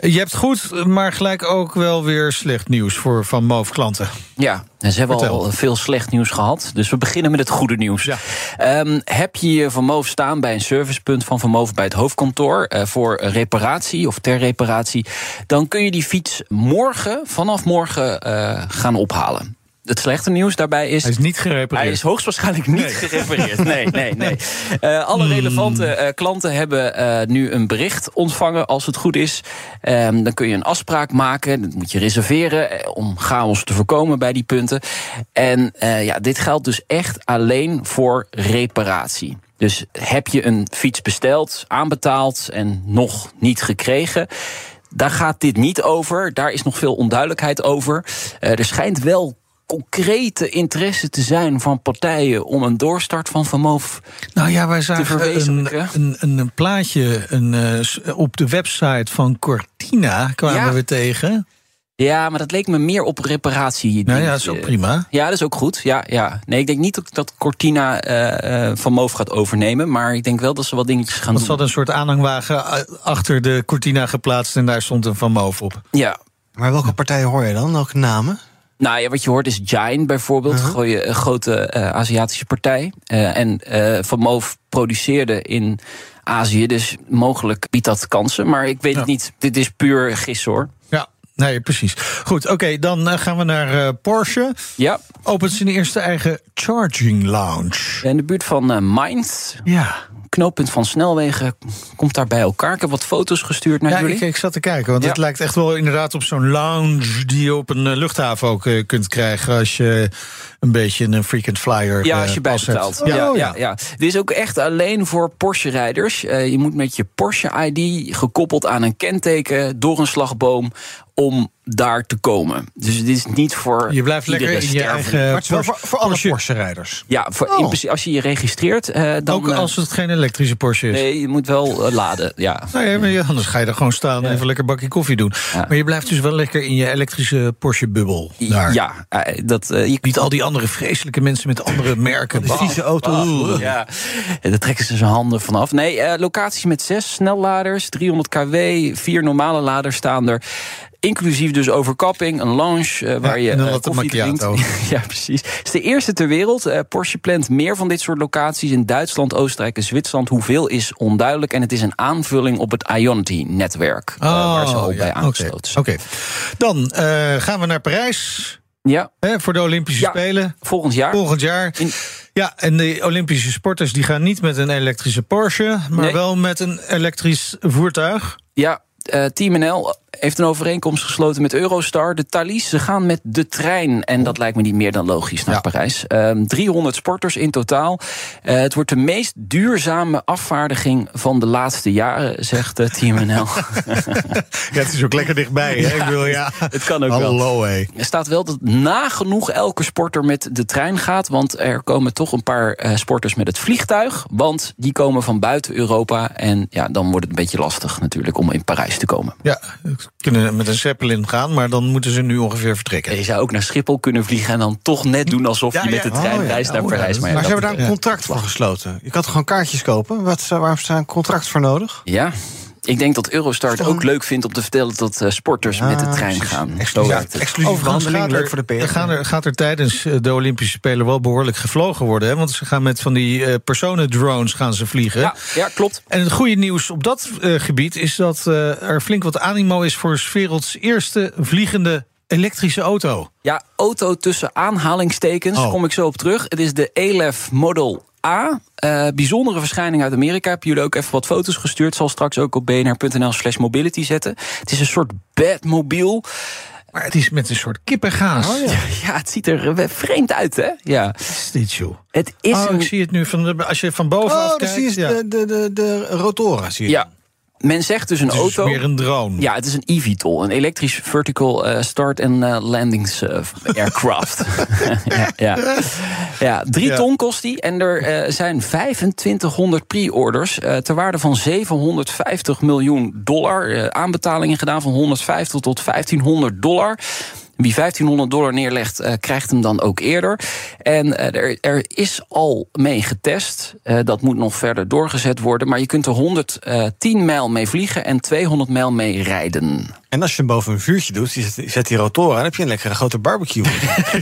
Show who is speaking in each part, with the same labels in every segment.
Speaker 1: Je hebt goed, maar gelijk ook wel weer slecht nieuws voor Van Moof klanten.
Speaker 2: Ja, en ze hebben
Speaker 1: Vertel.
Speaker 2: al veel slecht nieuws gehad. Dus we beginnen met het goede nieuws.
Speaker 1: Ja.
Speaker 2: Ehm, heb je je vermoof staan bij een servicepunt van vermoof bij het hoofdkantoor eh, voor reparatie of ter reparatie, dan kun je die fiets morgen, vanaf morgen, eh, gaan ophalen. Het slechte nieuws daarbij is.
Speaker 1: Hij is niet gerepareerd.
Speaker 2: Hij is hoogstwaarschijnlijk niet gerepareerd. Nee, nee, nee. Eh, alle relevante eh, klanten hebben eh, nu een bericht ontvangen, als het goed is. Ehm, dan kun je een afspraak maken. Dat moet je reserveren eh, om chaos te voorkomen bij die punten. En eh, ja, dit geldt dus echt alleen voor reparatie. Dus heb je een fiets besteld, aanbetaald en nog niet gekregen. Daar gaat dit niet over. Daar is nog veel onduidelijkheid over. Eh, er schijnt wel concrete interesse te zijn van partijen om een doorstart van Vermoof.
Speaker 1: Nou ja, wij zagen een,
Speaker 2: verwezenlijken.
Speaker 1: een, een, een plaatje een, eh, s- op de website van Cortina kwamen
Speaker 2: Ja.
Speaker 1: we tegen.
Speaker 2: Ja, maar dat leek me meer op reparatie. eh.
Speaker 1: Nou ja, dat is ook prima.
Speaker 2: Ja, dat is ook goed. Ja, ja. Nee, ik denk niet dat, dat Cortina eh eh, Van Moof gaat overnemen. Maar ik denk wel dat ze wat dingetjes gaan
Speaker 1: Want ze
Speaker 2: doen.
Speaker 1: hadden een soort aanhangwagen eh, achter de Cortina geplaatst en daar stond een Van Moof op.
Speaker 2: Ja.
Speaker 3: Maar welke partijen hoor je dan? Welke namen?
Speaker 2: Nou ja, wat je hoort is Giant bijvoorbeeld.
Speaker 1: Uh-huh.
Speaker 2: Goeie, een grote eh, Aziatische partij. Eh, en eh, Van Moof produceerde in Azië. Dus mogelijk biedt dat kansen. Maar ik weet het niet. Dit is puur gissen hoor.
Speaker 1: Ja, nee, precies. Goed, oké, dan eh, gaan we naar eh, Porsche.
Speaker 2: Ja.
Speaker 1: Opent zijn eerste eigen charging lounge.
Speaker 2: In de buurt van eh, Mainz,
Speaker 1: Ja,
Speaker 2: knooppunt van snelwegen, komt daar bij elkaar. Ik heb wat foto's gestuurd naar
Speaker 1: ja
Speaker 2: jullie.
Speaker 1: ik, ik zat te kijken, want
Speaker 2: Ja.
Speaker 1: het lijkt echt wel inderdaad op zo'n lounge die je op een eh, luchthaven ook eh, kunt krijgen als je een beetje een frequent flyer
Speaker 2: Ja,
Speaker 1: eh,
Speaker 2: als je
Speaker 1: pas hebt.
Speaker 2: bijbetaalt. Ja, ja,
Speaker 1: Oh,
Speaker 2: ja. Dit is ook echt alleen voor Porsche-rijders. Eh, je moet met je Porsche-ID gekoppeld aan een kenteken door een slagboom om daar te komen. Dus dit is niet voor
Speaker 1: Je blijft lekker
Speaker 2: iedere
Speaker 1: in je
Speaker 2: sterveling.
Speaker 1: eigen.
Speaker 3: Maar het is wel voor, voor alle
Speaker 1: Porsche.
Speaker 3: Porsche-rijders.
Speaker 2: Ja, voor, in
Speaker 3: Oh.
Speaker 2: principe, als je je registreert, eh, dan...
Speaker 1: Ook
Speaker 2: eh,
Speaker 1: als het geen elektrische Porsche is.
Speaker 2: Nee, je moet wel eh, laden, ja.
Speaker 1: Nou ja, maar ja, anders ga je er gewoon staan en even lekker bakje koffie doen. Maar je blijft dus wel lekker in je elektrische Porsche-bubbel. daar.
Speaker 2: Ja, eh, dat, eh, je
Speaker 1: Niet al die andere vreselijke mensen met andere merken. Ah,
Speaker 3: Die vieze auto. Oeh.
Speaker 2: Ja, en daar trekken ze zijn handen vanaf. Nee, eh, locaties met zes snelladers, 300 kW, vier normale laders staan er. Inclusief dus overkapping, een lounge eh, waar je
Speaker 1: en een
Speaker 2: eh,
Speaker 1: latte
Speaker 2: koffie
Speaker 1: macchiato.
Speaker 2: drinkt. ja, precies. Het is de eerste ter wereld. Eh, Porsche plant meer van dit soort locaties in Duitsland, Oostenrijk en Zwitserland. Hoeveel is onduidelijk en het is een aanvulling op het Ionity-netwerk. eh, waar ze ook
Speaker 1: Oh, ja,
Speaker 2: bij
Speaker 1: oké,
Speaker 2: aangesloten zijn.
Speaker 1: Oké, dan eh, gaan we naar Parijs
Speaker 2: Ja,
Speaker 1: hè, voor de Olympische
Speaker 2: Ja.
Speaker 1: Spelen.
Speaker 2: volgend jaar.
Speaker 1: Volgend jaar.
Speaker 2: In-
Speaker 1: Ja, en de Olympische sporters die gaan niet met een elektrische Porsche, maar
Speaker 2: Nee.
Speaker 1: wel met een elektrisch voertuig.
Speaker 2: Ja, eh, Team NL heeft een overeenkomst gesloten met Eurostar. De Thalys, ze gaan met de trein. En dat lijkt me niet meer dan logisch naar
Speaker 1: Ja.
Speaker 2: Parijs. Ehm, 300 sporters in totaal. Eh, het wordt de meest duurzame afvaardiging van de laatste jaren, zegt eh, Team NL.
Speaker 1: Ja, het is ook lekker dichtbij. Hè? Ik wil, ja.
Speaker 2: het kan ook wel.
Speaker 1: Hallo, hé.
Speaker 2: Er staat wel dat nagenoeg elke sporter met de trein gaat. Want er komen toch een paar eh, sporters met het vliegtuig. Want die komen van buiten Europa. En ja, dan wordt het een beetje lastig natuurlijk om in Parijs te komen.
Speaker 1: Ja, ze kunnen met een Zeppelin gaan, maar dan moeten ze nu ongeveer vertrekken.
Speaker 2: Je zou ook naar Schiphol kunnen vliegen en dan toch net doen alsof
Speaker 1: Ja,
Speaker 2: je met de
Speaker 1: ja.
Speaker 2: trein
Speaker 3: Oh, ja.
Speaker 2: reist naar
Speaker 1: Oh, ja,
Speaker 2: Parijs.
Speaker 1: dat-
Speaker 2: Maar ja,
Speaker 3: Maar ze
Speaker 2: dat-
Speaker 3: hebben daar een contract voor gesloten. Je kan toch gewoon kaartjes kopen? Wat, eh, waarom is daar een contract voor nodig?
Speaker 2: ja, ik denk dat Eurostar het
Speaker 3: Is toch
Speaker 2: ook
Speaker 3: een-
Speaker 2: leuk vindt om te vertellen dat eh, sporters met de trein
Speaker 3: precies.
Speaker 2: gaan. Zo
Speaker 3: Exclusief,
Speaker 2: werkt het.
Speaker 3: exclusief behandeling, leuk voor de
Speaker 1: er,
Speaker 3: PR.
Speaker 1: gaan er, gaat er tijdens eh, de Olympische Spelen wel behoorlijk gevlogen worden. Hè? Want ze gaan met van die eh, personen-drones gaan ze vliegen.
Speaker 2: Ja, ja, klopt.
Speaker 1: En het goede nieuws op dat eh, gebied is dat eh, er flink wat animo is voor 's werelds eerste vliegende elektrische auto.
Speaker 2: Ja, auto tussen aanhalingstekens,
Speaker 1: Oh.
Speaker 2: kom ik zo op terug. Het is de ELEF Model A. Eh, bijzondere verschijning uit Amerika. Heb jullie ook even wat foto's gestuurd. Zal straks ook op bnr.nl slash mobility zetten. Het is een soort bedmobiel.
Speaker 1: Maar het is met een soort kippengaas. Oh
Speaker 2: Ja, het ziet er eh, vreemd uit, hè? Ja.
Speaker 1: is dit, joh?
Speaker 2: Het is
Speaker 1: Oh,
Speaker 2: een...
Speaker 1: ik zie het eh, nu. Van de, als je van bovenaf
Speaker 3: Oh, dan
Speaker 1: kijkt.
Speaker 3: zie je
Speaker 1: ja.
Speaker 3: de, de, de, de rotoren. Zie je.
Speaker 2: Ja. men zegt dus een
Speaker 1: Het is
Speaker 2: auto.
Speaker 1: meer een drone.
Speaker 2: Ja, het is een eVTOL, een elektrisch vertical eh, start- en eh, landings eh, aircraft. ja, ja. ja, drie
Speaker 1: Ja.
Speaker 2: ton kost die. En er eh, zijn 2500 pre-orders eh, ter waarde van 750 miljoen dollar. Eh, aanbetalingen gedaan van 150 tot 1500 dollar. Wie 1500 dollar neerlegt, eh, krijgt hem dan ook eerder. En eh, er, er is al mee getest. Eh, dat moet nog verder doorgezet worden. Maar je kunt er 110 mijl mee vliegen en 200 mijl mee rijden.
Speaker 3: En als je hem boven een vuurtje doet, je zet, je zet die rotoren aan, heb je een lekkere grote barbecue.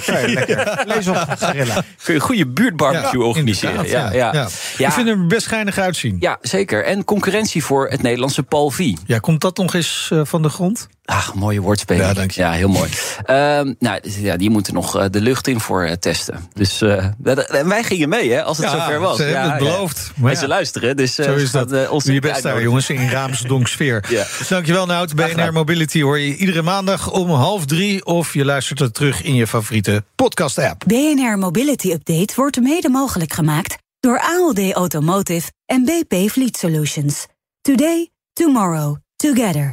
Speaker 3: ja, lekker. Lees op, gorilla.
Speaker 2: Kun je een goede buurtbarbecue organiseren.
Speaker 1: inderdaad,
Speaker 2: Ja, ja. Ja.
Speaker 1: Ik vind hem er best geinig uitzien. Ja.
Speaker 2: Ja, zeker. En concurrentie voor het Nederlandse Paul V.
Speaker 1: komt dat nog eens eh, van de grond?
Speaker 2: Ach, mooie woordspeling.
Speaker 1: Ja, dank je.
Speaker 2: heel mooi. Ehm, nou, dus ja, die moeten nog eh, de lucht in voor eh, testen. Dus eh, dat- en wij gingen mee, hè, als het zover was.
Speaker 1: Ze hebben
Speaker 2: Ja,
Speaker 1: het
Speaker 2: ja.
Speaker 1: beloofd. Maar
Speaker 2: En
Speaker 1: ja,
Speaker 2: ze luisteren, dus eh,
Speaker 1: Zo
Speaker 2: ze
Speaker 1: is dat.
Speaker 2: gaan, eh, ons
Speaker 1: Doe je
Speaker 2: niet
Speaker 1: best daar,
Speaker 2: uitnodigen.
Speaker 1: jongens, in Raamsdonk sfeer.
Speaker 2: Ja.
Speaker 1: Dankjewel, Nout. BNR Mobility hoor je iedere maandag om half drie... of je luistert het terug in je favoriete podcast-app.
Speaker 4: BNR Mobility Update wordt mede mogelijk gemaakt door ALD Automotive en BP Fleet Solutions. Today, tomorrow, together.